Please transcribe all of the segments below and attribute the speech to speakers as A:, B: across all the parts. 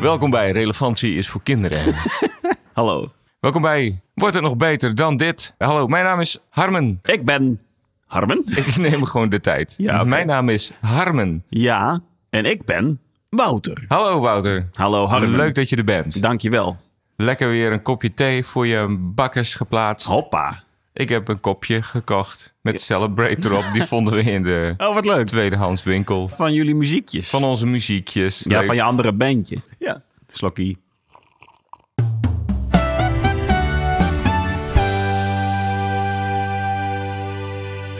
A: Welkom bij Relevantie is voor kinderen.
B: Hallo,
A: Welkom bij Wordt het nog beter dan dit? Hallo, mijn naam is Harmen.
B: ik ben Harmen.
A: Ik neem gewoon de tijd.
B: Ja, oké.
A: Mijn naam is Harmen.
B: Ja, en ik ben Wouter.
A: Hallo Wouter.
B: Hallo Harmen.
A: Leuk dat je er bent.
B: Dankjewel.
A: Lekker weer een kopje thee voor je bakkers geplaatst.
B: Oh. Hoppa.
A: Ik heb een kopje gekocht met Celebrate erop. Die vonden we in de
B: Oh, wat leuk.
A: tweedehands winkel.
B: Van jullie muziekjes.
A: Van onze muziekjes.
B: ja,
A: Leuk.
B: van je andere bandje. Ja. Slokkie.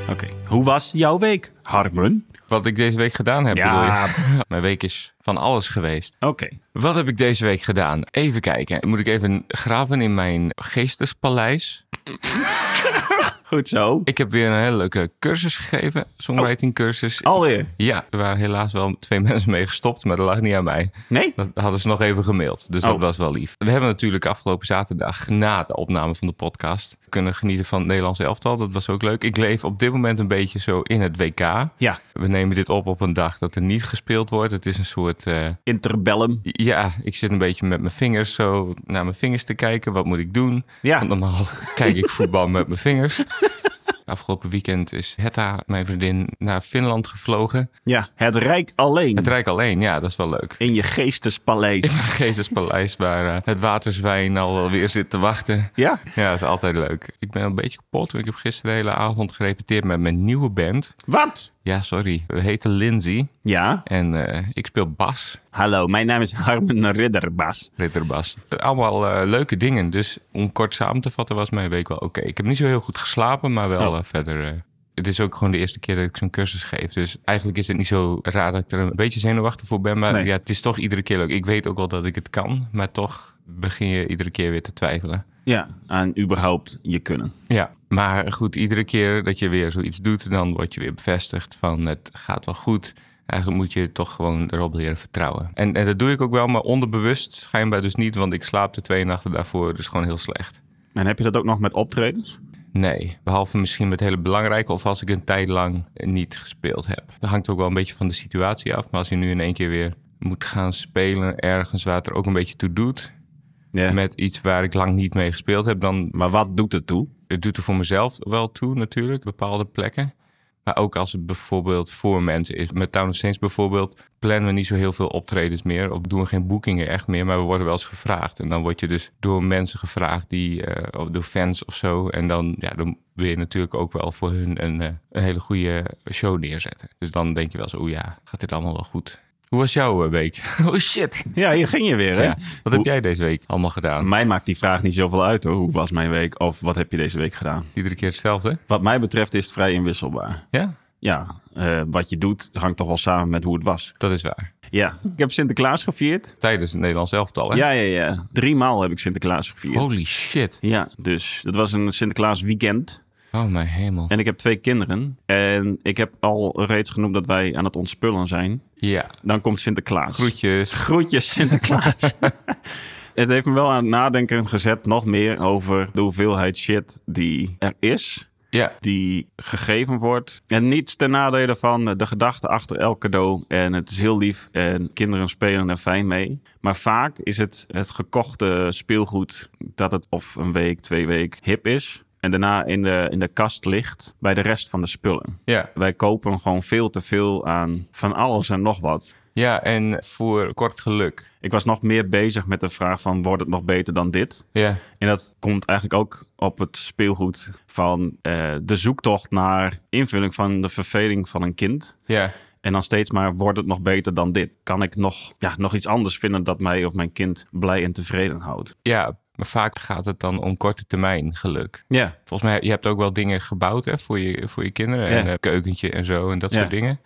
B: Oké, hoe was jouw week, Harmen?
A: Wat ik deze week gedaan heb.
B: Ja.
A: bedoel je? Mijn week is van alles geweest.
B: Oké.
A: Wat heb ik deze week gedaan? Even kijken. Moet ik even graven in mijn geestespaleis?
B: Goed zo.
A: Ik heb weer een hele leuke cursus gegeven. Songwriting cursus.
B: Alweer?
A: Ja, er waren helaas wel twee mensen mee gestopt, maar dat lag niet aan mij.
B: Nee?
A: Dat hadden ze nog even gemaild, dus dat
B: Oh.
A: was wel lief. We hebben natuurlijk afgelopen zaterdag na de opname van de podcast kunnen genieten van het Nederlandse elftal. Dat was ook leuk. Ik leef op dit moment een beetje zo in het WK.
B: Ja.
A: We nemen dit op op een dag dat er niet gespeeld wordt. Het is een soort eh,
B: Interbellum.
A: ja, ik zit een beetje met mijn vingers zo naar mijn vingers te kijken. Wat moet ik doen?
B: Ja.
A: Want normaal kijk ik voetbal met mijn vingers. Afgelopen weekend is Hetta, mijn vriendin, naar Finland gevlogen.
B: Ja. Het Rijk alleen.
A: Het Rijk alleen, ja, dat is wel leuk.
B: In je geestespaleis.
A: Geestespaleis waar eh, het waterzwijn al wel weer zit te wachten.
B: ja.
A: Ja, dat is altijd leuk. Ik ben een beetje kapot. want Ik heb gisteren de hele avond gerepeteerd met mijn nieuwe band.
B: Wat?
A: Ja, sorry. We heten Lindsay
B: Ja.
A: en eh, ik speel bas.
B: Hallo, mijn naam is Harmen Ridderbas.
A: Ritterbas. Allemaal eh, leuke dingen. Dus om kort samen te vatten was mijn week wel oké. Ik heb niet zo heel goed geslapen, maar wel
B: Oh.
A: eh, verder. eh, het is ook gewoon de eerste keer dat ik zo'n cursus geef. Dus eigenlijk is het niet zo raar dat ik er een beetje zenuwachtig voor ben. Maar
B: Nee.
A: ja, het is toch iedere keer leuk. Ik weet ook wel dat ik het kan. Maar toch begin je iedere keer weer te twijfelen.
B: Ja, aan überhaupt je kunnen.
A: Ja, maar goed, iedere keer dat je weer zoiets doet, dan word je weer bevestigd van het gaat wel goed. Eigenlijk moet je toch gewoon erop leren vertrouwen. En, en dat doe ik ook wel, maar onderbewust schijnbaar dus niet, want ik slaap de twee nachten daarvoor dus gewoon heel slecht.
B: En heb je dat ook nog met optredens?
A: Nee, behalve misschien met hele belangrijke of als ik een tijd lang niet gespeeld heb. Dat hangt ook wel een beetje van de situatie af, maar als je nu in één keer weer moet gaan spelen ergens waar het er ook een beetje toe doet,
B: Ja.
A: met iets waar ik lang niet mee gespeeld heb, dan
B: Maar wat doet het toe?
A: het doet er voor mezelf wel toe natuurlijk, bepaalde plekken. Maar ook als het bijvoorbeeld voor mensen is. Met Town of Saints bijvoorbeeld plannen we niet zo heel veel optredens meer. Of doen we geen boekingen echt meer, maar we worden wel eens gevraagd. En dan word je dus door mensen gevraagd, die, eh, of door fans of zo. En dan, ja, dan wil je natuurlijk ook wel voor hun een, eh, een hele goede show neerzetten. Dus dan denk je wel zo, oeh ja, gaat dit allemaal wel goed. Hoe was jouw eh, week? oh shit.
B: Ja, hier ging je weer, hè?
A: Ja, wat heb jij deze week allemaal gedaan?
B: Mij maakt die vraag niet zoveel uit, hoor. Hoe was mijn week? Of wat heb je deze week gedaan?
A: Is Iedere keer hetzelfde?
B: Wat mij betreft is het vrij inwisselbaar.
A: Ja,
B: Ja, eh, wat je doet hangt toch wel samen met hoe het was.
A: dat is waar.
B: Ja, ik heb Sinterklaas gevierd.
A: Tijdens het Nederlands elftal, hè?
B: Ja, ja, ja. Drie maal heb ik Sinterklaas gevierd.
A: Holy shit.
B: Ja, dus dat was een Sinterklaas weekend.
A: Oh, mijn hemel.
B: En ik heb twee kinderen. En ik heb al reeds genoemd dat wij aan het ontspullen zijn.
A: Ja.
B: Dan komt Sinterklaas.
A: Groetjes.
B: Groetjes Sinterklaas. het heeft me wel aan het nadenken gezet, nog meer over de hoeveelheid shit die er is,
A: Ja.
B: die gegeven wordt. En niets ten nadele van de gedachte achter elk cadeau. En het is heel lief en kinderen spelen er fijn mee. Maar vaak is het het gekochte speelgoed dat het of een week, twee week hip is. En daarna in de, in de kast ligt bij de rest van de spullen.
A: Ja.
B: Wij kopen gewoon veel te veel aan van alles en nog wat.
A: ja, en voor kort geluk.
B: Ik was nog meer bezig met de vraag van wordt het nog beter dan dit?
A: Ja.
B: En dat komt eigenlijk ook op het speelgoed van eh, de zoektocht naar invulling van de verveling van een kind.
A: Ja.
B: En dan steeds maar wordt het nog beter dan dit? Kan ik nog, ja, nog iets anders vinden dat mij of mijn kind blij en tevreden houdt?
A: Ja. Maar vaak gaat het dan om korte termijn geluk.
B: Ja.
A: Volgens mij, je hebt ook wel dingen gebouwd hè, voor, je, voor je kinderen.
B: Ja.
A: En een keukentje en zo en dat
B: Ja.
A: soort dingen.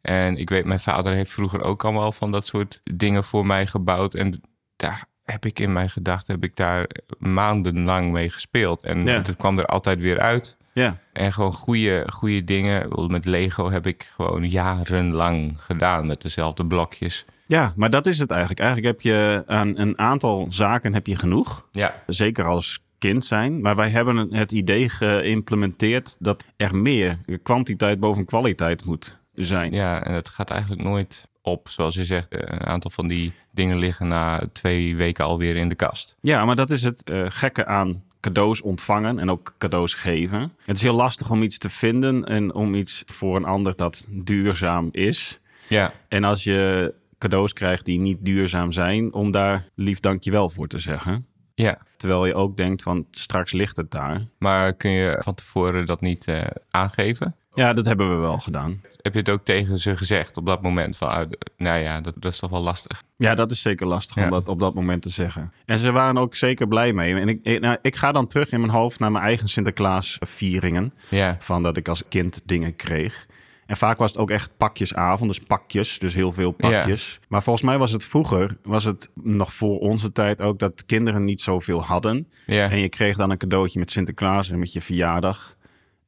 A: En ik weet, mijn vader heeft vroeger ook allemaal van dat soort dingen voor mij gebouwd. En daar heb ik in mijn gedachten, heb ik daar maandenlang mee gespeeld. En
B: Ja.
A: het kwam er altijd weer uit.
B: Ja.
A: En gewoon goede, goede dingen. Ik bedoel, Met Lego heb ik gewoon jarenlang gedaan met dezelfde blokjes.
B: ja, maar dat is het eigenlijk. Eigenlijk heb je aan een aantal zaken heb je genoeg.
A: Ja.
B: zeker als kind zijn. Maar wij hebben het idee geïmplementeerd dat er meer kwantiteit boven kwaliteit moet zijn.
A: Ja, en het gaat eigenlijk nooit op. Zoals je zegt, Eh, een aantal van die dingen liggen na twee weken alweer in de kast.
B: Ja, maar dat is het eh, gekke aan cadeaus ontvangen en ook cadeaus geven. Het is heel lastig om iets te vinden en om iets voor een ander dat duurzaam is.
A: Ja,
B: En als je cadeaus krijgt die niet duurzaam zijn, om daar lief dankjewel voor te zeggen.
A: ja.
B: Terwijl je ook denkt van straks ligt het daar.
A: Maar kun je van tevoren dat niet eh, aangeven?
B: Ja, dat hebben we wel gedaan.
A: Heb je het ook tegen ze gezegd op dat moment? Van, ah, d- nou ja, dat, dat is toch wel lastig.
B: Ja, dat is zeker lastig
A: Ja.
B: om dat op dat moment te zeggen. En ze waren ook zeker blij mee. En ik, ik, nou, ik ga dan terug in mijn hoofd naar mijn eigen Sinterklaas vieringen.
A: Ja,
B: Van dat ik als kind dingen kreeg. En vaak was het ook echt pakjesavond, dus pakjes, dus heel veel pakjes. Maar volgens mij was het vroeger, was het nog voor onze tijd ook, dat kinderen niet zoveel hadden.
A: ja.
B: En je kreeg dan een cadeautje met Sinterklaas en met je verjaardag.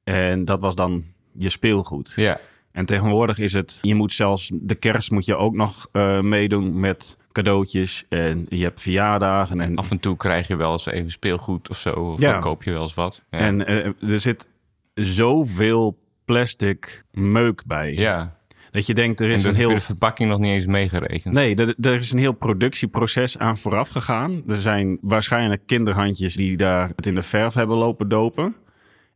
B: En dat was dan je speelgoed.
A: ja.
B: En tegenwoordig is het, je moet zelfs de kerst moet je ook nog eh, meedoen met cadeautjes. En je hebt verjaardagen. En,
A: Af en toe krijg je wel eens even speelgoed of zo. Of
B: Ja.
A: dan koop je wel eens wat. Ja.
B: en eh, er zit zoveel plastic meuk bij.
A: ja.
B: Dat je denkt, er
A: En
B: is
A: de,
B: een heel.
A: de verpakking nog niet eens meegerekend.
B: Nee, er, er is een heel productieproces aan vooraf gegaan. Er zijn waarschijnlijk kinderhandjes die daar het in de verf hebben lopen dopen.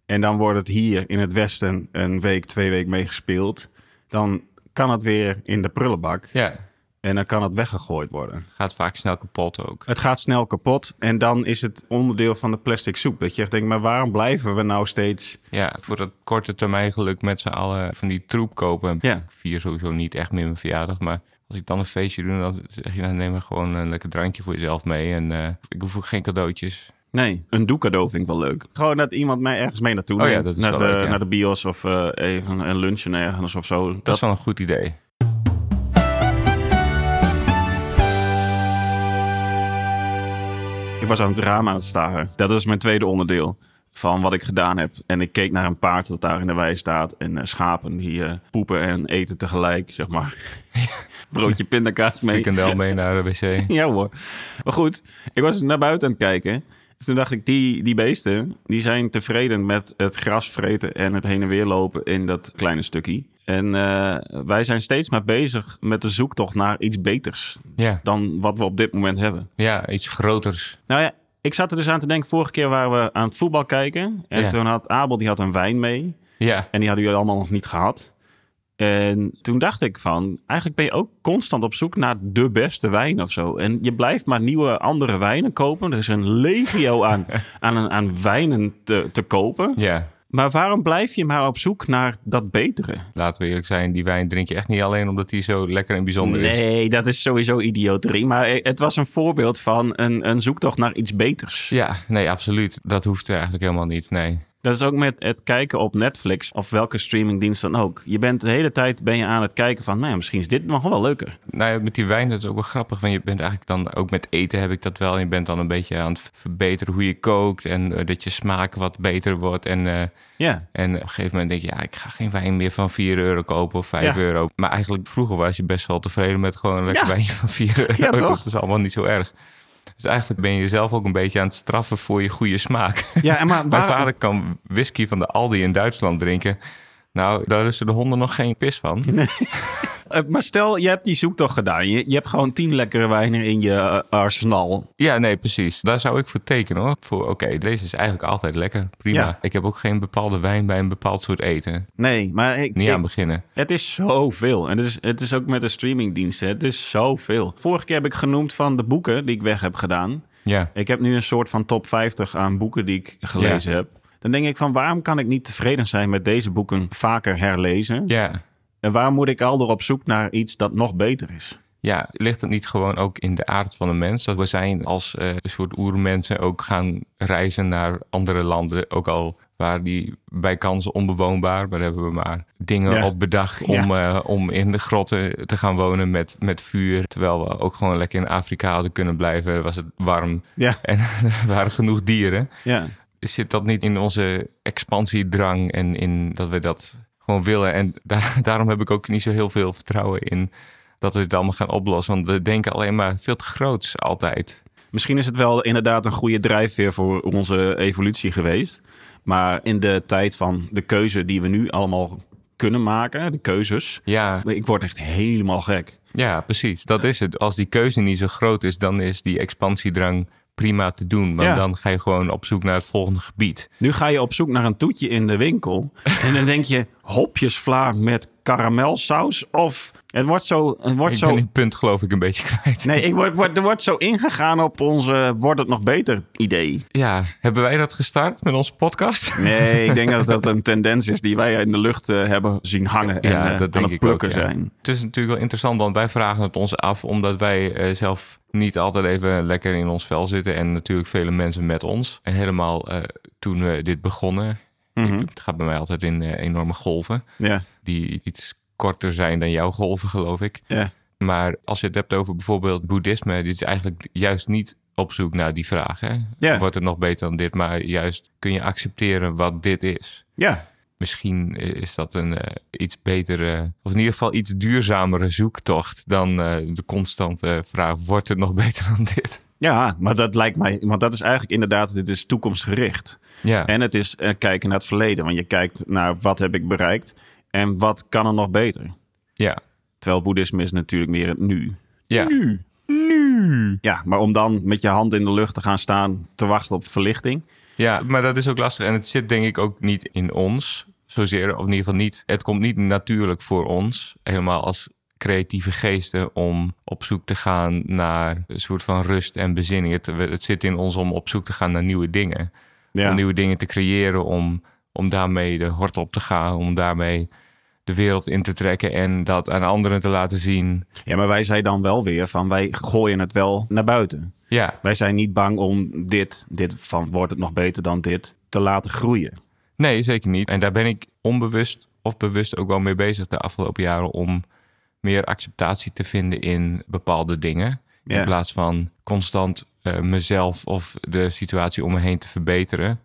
B: En dan wordt het hier in het Westen een week, twee weken meegespeeld. Dan kan het weer in de prullenbak
A: Ja,
B: en dan kan het weggegooid worden.
A: gaat vaak snel kapot ook.
B: Het gaat snel kapot en dan is het onderdeel van de plastic soep. Dat je echt denkt, maar waarom blijven we nou steeds...
A: Ja, voor dat korte termijn geluk met z'n allen van die troep kopen.
B: Ja.
A: Ik vier sowieso niet echt meer mijn verjaardag, maar als ik dan een feestje doe, dan zeg je, nou, neem maar gewoon een lekker drankje voor jezelf mee. En eh, ik hoef ook geen cadeautjes.
B: Nee, een doekcadeau vind ik wel leuk. Gewoon dat iemand mij ergens mee naartoe
A: Oh ja,
B: neemt.
A: dat is
B: naar,
A: wel
B: de,
A: leuk, ja.
B: naar de bios of eh, even een lunchen ergens of zo.
A: Dat is wel een goed idee.
B: Ik was aan het raam aan het staren. Dat is mijn tweede onderdeel van wat ik gedaan heb. En ik keek naar een paard dat daar in de wei staat. En eh, schapen die eh, poepen en eten tegelijk, zeg maar. Broodje pindakaas mee.
A: Ik kan wel mee naar de wc.
B: Ja hoor. Maar goed, ik was dus naar buiten aan het kijken. Dus toen dacht ik, die, die beesten die zijn tevreden met het gras vreten en het heen en weer lopen in dat kleine stukje. En eh, wij zijn steeds maar bezig met de zoektocht naar iets beters
A: Ja,
B: dan wat we op dit moment hebben.
A: ja iets groters.
B: Nou ja, ik zat er dus aan te denken, vorige keer waren we aan het voetbal kijken. En
A: Ja.
B: toen had Abel, die had een wijn mee.
A: Ja,
B: En die hadden jullie allemaal nog niet gehad. En toen dacht ik van, eigenlijk ben je ook constant op zoek naar de beste wijn of zo. En je blijft maar nieuwe andere wijnen kopen. Er is een legio aan, aan, aan wijnen te, te kopen.
A: ja.
B: Maar waarom blijf je maar op zoek naar dat betere?
A: Laten we eerlijk zijn, die wijn drink je echt niet alleen omdat die zo lekker en bijzonder is.
B: Nee, dat is sowieso idioterie. Maar eh, het was een voorbeeld van een, een zoektocht naar iets beters.
A: Ja, nee, absoluut. Dat hoeft eigenlijk helemaal niet, nee.
B: Dat is ook met het kijken op Netflix of welke streamingdienst dan ook. Je bent de hele tijd ben je aan het kijken van, nou ja, misschien is dit nog wel leuker.
A: Nou ja, met die wijn, dat is ook wel grappig. Want je bent eigenlijk dan, ook met eten heb ik dat wel. Je bent dan een beetje aan het verbeteren hoe je kookt. En eh, dat je smaak wat beter wordt. En, eh,
B: Ja,
A: en op een gegeven moment denk je, ja, ik ga geen wijn meer van 4 euro kopen of 5
B: Ja.
A: euro. Maar eigenlijk vroeger was je best wel tevreden met gewoon een lekker
B: Ja.
A: wijnje van 4 euro.
B: Ja, toch?
A: Dat is allemaal niet zo erg. Dus eigenlijk ben je jezelf ook een beetje aan het straffen voor je goede smaak.
B: ja en maar
A: Mijn
B: waar-
A: vader kan whisky van de Aldi in Duitsland drinken. Nou, daar rusten de honden nog geen pis van.
B: eh, maar stel, je hebt die zoektocht gedaan. Je, je hebt gewoon tien lekkere wijnen in je eh, arsenaal.
A: Ja, nee, precies. Daar zou ik voor tekenen hoor. Voor oké, deze is eigenlijk altijd lekker. Prima.
B: Ja.
A: Ik heb ook geen bepaalde wijn bij een bepaald soort eten.
B: Nee, maar ik,
A: Niet
B: ik-
A: aan beginnen.
B: het is zoveel. En het is, het is ook met de streamingdiensten. Het is zoveel. Vorige keer heb ik genoemd van de boeken die ik weg heb gedaan.
A: Ja.
B: Ik heb nu een soort van top 50 aan boeken die ik gelezen heb. Dan denk ik van waarom kan ik niet tevreden zijn met deze boeken vaker herlezen?
A: Ja.
B: En waarom moet ik al door op zoek naar iets dat nog beter is?
A: Ja, ligt het niet gewoon ook in de aard van de mens? Dat we zijn als eh, een soort oermensen ook gaan reizen naar andere landen. Ook al waren die bij kansen onbewoonbaar. Maar daar hebben we maar dingen
B: Ja.
A: op bedacht om, eh, om in de grotten te gaan wonen met, met vuur. Terwijl we ook gewoon lekker in Afrika hadden kunnen blijven. Was het warm
B: Ja,
A: en er waren genoeg dieren.
B: ja.
A: zit dat niet in onze expansiedrang en in dat we dat gewoon willen. En da- daarom heb ik ook niet zo heel veel vertrouwen in dat we dit allemaal gaan oplossen. Want we denken alleen maar veel te groots altijd.
B: Misschien is het wel inderdaad een goede drijfveer voor onze evolutie geweest. Maar in de tijd van de keuze die we nu allemaal kunnen maken, de keuzes.
A: Ja,
B: Ik word echt helemaal gek.
A: Ja, precies. Dat is het. Als die keuze niet zo groot is, dan is die expansiedrang prima te doen. Maar
B: Ja.
A: dan ga je gewoon op zoek naar het volgende gebied.
B: Nu ga je op zoek naar een toetje in de winkel. En dan denk je, hopjesvla met karamelsaus? Of het wordt zo... Het wordt
A: Ik
B: zo
A: ben die punt geloof ik een beetje kwijt.
B: Nee, ik word, word, er wordt zo ingegaan op onze wordt het nog beter idee.
A: Ja, hebben wij dat gestart met onze podcast?
B: Nee, ik denk dat dat een tendens is die wij in de lucht eh, hebben zien hangen en eh, aan het plukken
A: ook, ja.
B: zijn.
A: Het is natuurlijk wel interessant, want wij vragen het ons af omdat wij eh, zelf niet altijd even lekker in ons vel zitten. En natuurlijk vele mensen met ons. En helemaal eh, toen we dit begonnen, ik- het gaat bij mij altijd in eh, enorme golven.
B: Ja,
A: Die iets korter zijn dan jouw golven, geloof ik.
B: ja.
A: Maar als je het hebt over bijvoorbeeld boeddhisme, dit is eigenlijk juist niet op zoek naar die vraag. Hè?
B: Ja.
A: Wordt het nog beter dan dit? Maar juist kun je accepteren wat dit is
B: ja.
A: misschien is dat een eh, iets betere, of in ieder geval iets duurzamere zoektocht dan eh, de constante vraag: wordt het nog beter dan dit?
B: Ja, maar dat lijkt mij, want dat is eigenlijk inderdaad, dit is toekomstgericht.
A: Ja,
B: En het is eh, kijken naar het verleden, want je kijkt naar wat heb ik bereikt en wat kan er nog beter.
A: ja,
B: Terwijl boeddhisme is natuurlijk meer het nu.
A: ja.
B: Nu. Nu. Ja, maar om dan met je hand in de lucht te gaan staan, te wachten op verlichting.
A: ja, maar dat is ook lastig. En het zit denk ik ook niet in ons, zozeer, of in ieder geval niet. Het komt niet natuurlijk voor ons, helemaal als creatieve geesten, om op zoek te gaan naar een soort van rust en bezinning. Het, het zit in ons om op zoek te gaan naar nieuwe dingen.
B: Ja.
A: om nieuwe dingen te creëren, om, om daarmee de hort op te gaan, om daarmee de wereld in te trekken en dat aan anderen te laten zien.
B: Ja, maar wij zijn dan wel weer van wij gooien het wel naar buiten.
A: Ja,
B: Wij zijn niet bang om dit, dit van wordt het nog beter dan dit, te laten groeien.
A: nee, zeker niet. En daar ben ik onbewust of bewust ook wel mee bezig de afgelopen jaren om meer acceptatie te vinden in bepaalde dingen.
B: Ja.
A: In plaats van constant eh, mezelf of de situatie om me heen te verbeteren.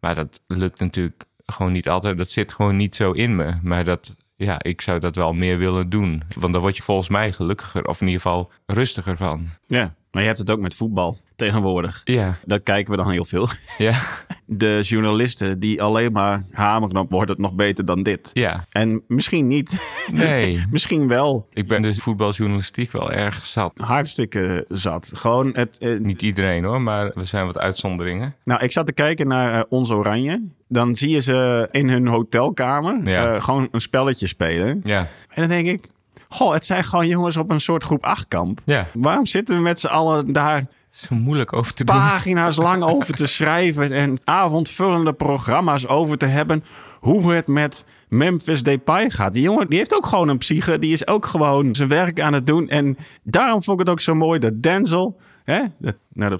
A: Maar dat lukt natuurlijk gewoon niet altijd. Dat zit gewoon niet zo in me. Maar dat, ja, ik zou dat wel meer willen doen. Want dan word je volgens mij gelukkiger. Of in ieder geval rustiger van.
B: Ja. Maar je hebt het ook met voetbal tegenwoordig.
A: Ja,
B: Dat kijken we dan heel veel.
A: ja,
B: De journalisten die alleen maar hameren op wordt het nog beter dan dit.
A: ja.
B: En misschien niet,
A: Nee.
B: misschien wel
A: Ik ben dus voetbaljournalistiek wel erg zat.
B: hartstikke zat. Gewoon het, eh,
A: Niet iedereen hoor, maar we zijn wat uitzonderingen.
B: Nou, ik zat te kijken naar eh, Ons Oranje. Dan zie je ze in hun hotelkamer
A: Ja.
B: eh, gewoon een spelletje spelen.
A: Ja,
B: En dan denk ik, goh, het zijn gewoon jongens op een soort groep 8 kamp.
A: ja.
B: Waarom zitten we met z'n allen daar
A: Zo moeilijk over te doen.
B: pagina's lang over te schrijven en avondvullende programma's over te hebben hoe het met Memphis Depay gaat. Die jongen die heeft ook gewoon een psyche, die is ook gewoon zijn werk aan het doen. En daarom vond ik het ook zo mooi dat Denzel, hè, de- naar de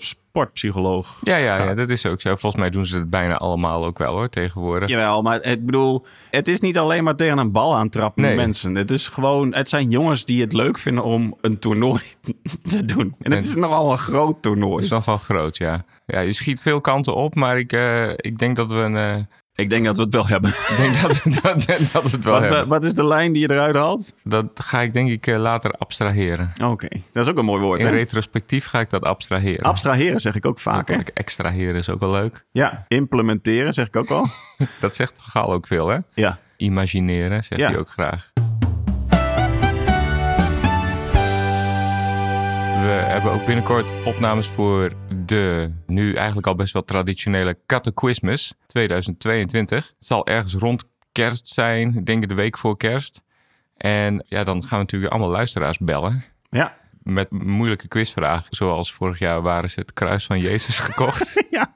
B: sportpsycholoog
A: Ja, ja, ja, dat is ook zo. Volgens mij doen ze het bijna allemaal ook wel hoor, tegenwoordig.
B: Jawel, maar ik bedoel, het is niet alleen maar tegen een bal aantrappen,
A: Nee.
B: mensen. Het is gewoon, het zijn jongens die het leuk vinden om een toernooi te doen. En het is nogal een groot toernooi.
A: is nogal groot, ja. Ja, je schiet veel kanten op, maar ik, eh, ik denk dat we een... eh,
B: Ik denk dat we het wel hebben.
A: ik denk dat, dat, dat, dat het wel
B: Wat,
A: hebben.
B: wat is de lijn die je eruit haalt?
A: Dat ga ik denk ik eh, later abstraheren.
B: Oké, dat is ook een mooi woord.
A: In
B: Hè?
A: retrospectief ga ik dat abstraheren.
B: Abstraheren zeg ik ook vaker.
A: Kijk, Extraheren is ook wel leuk.
B: Ja, implementeren zeg ik ook al.
A: Dat zegt Gaal ook veel, hè?
B: Ja.
A: Imagineren zegt
B: Ja.
A: hij ook graag. We hebben ook binnenkort opnames voor de nu eigenlijk al best wel traditionele Catechismus 2022. Het zal ergens rond kerst zijn, ik denk de week voor kerst. En ja, dan gaan we natuurlijk allemaal luisteraars bellen
B: Ja.
A: met moeilijke quizvragen. Zoals vorig jaar waren ze het kruis van Jezus gekocht.
B: Ja.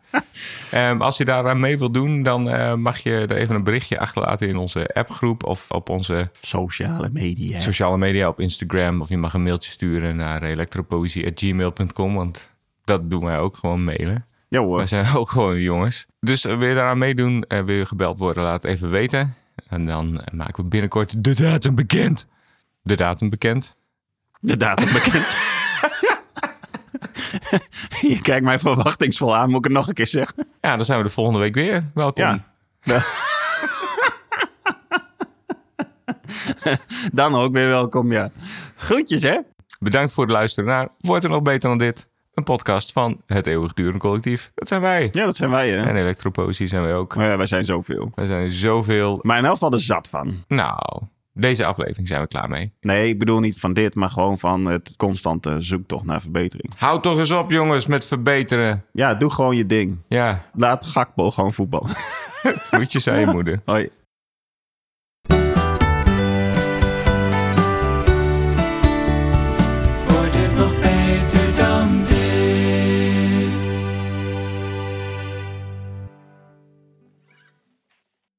A: Ehm, als je daaraan mee wilt doen, dan eh, mag je er even een berichtje achterlaten in onze appgroep of op onze
B: Sociale media.
A: sociale media op Instagram. Of je mag een mailtje sturen naar elektropoëzie.gmail.com, want dat doen wij ook gewoon mailen.
B: ja
A: Wij
B: hoor.
A: zijn ook gewoon jongens. Dus eh, wil je daaraan meedoen, eh, wil je gebeld worden, laat het even weten. En dan eh, maken we binnenkort de datum bekend. De datum bekend.
B: De datum bekend. je kijkt mij verwachtingsvol aan, moet ik het nog een keer zeggen?
A: Ja, dan zijn we de volgende week weer. Welkom.
B: Ja. Dan ook weer welkom, ja. Groetjes, hè?
A: Bedankt voor het luisteren naar Wordt er nog beter dan dit? Een podcast van het eeuwigdurende collectief. Dat zijn wij.
B: Ja, dat zijn wij, hè?
A: En elektropoëzie zijn wij ook.
B: Maar ja, wij zijn zoveel.
A: Er zijn zoveel.
B: Maar in elk geval er zat van.
A: Nou, Deze aflevering zijn we klaar mee.
B: Nee, ik bedoel niet van dit, maar gewoon van het constante zoektocht naar verbetering.
A: Houd toch eens op, jongens, met verbeteren.
B: Ja, doe gewoon je ding.
A: Ja,
B: Laat Gakpo gewoon voetballen.
A: groetjes aan je moeder.
B: Hoi.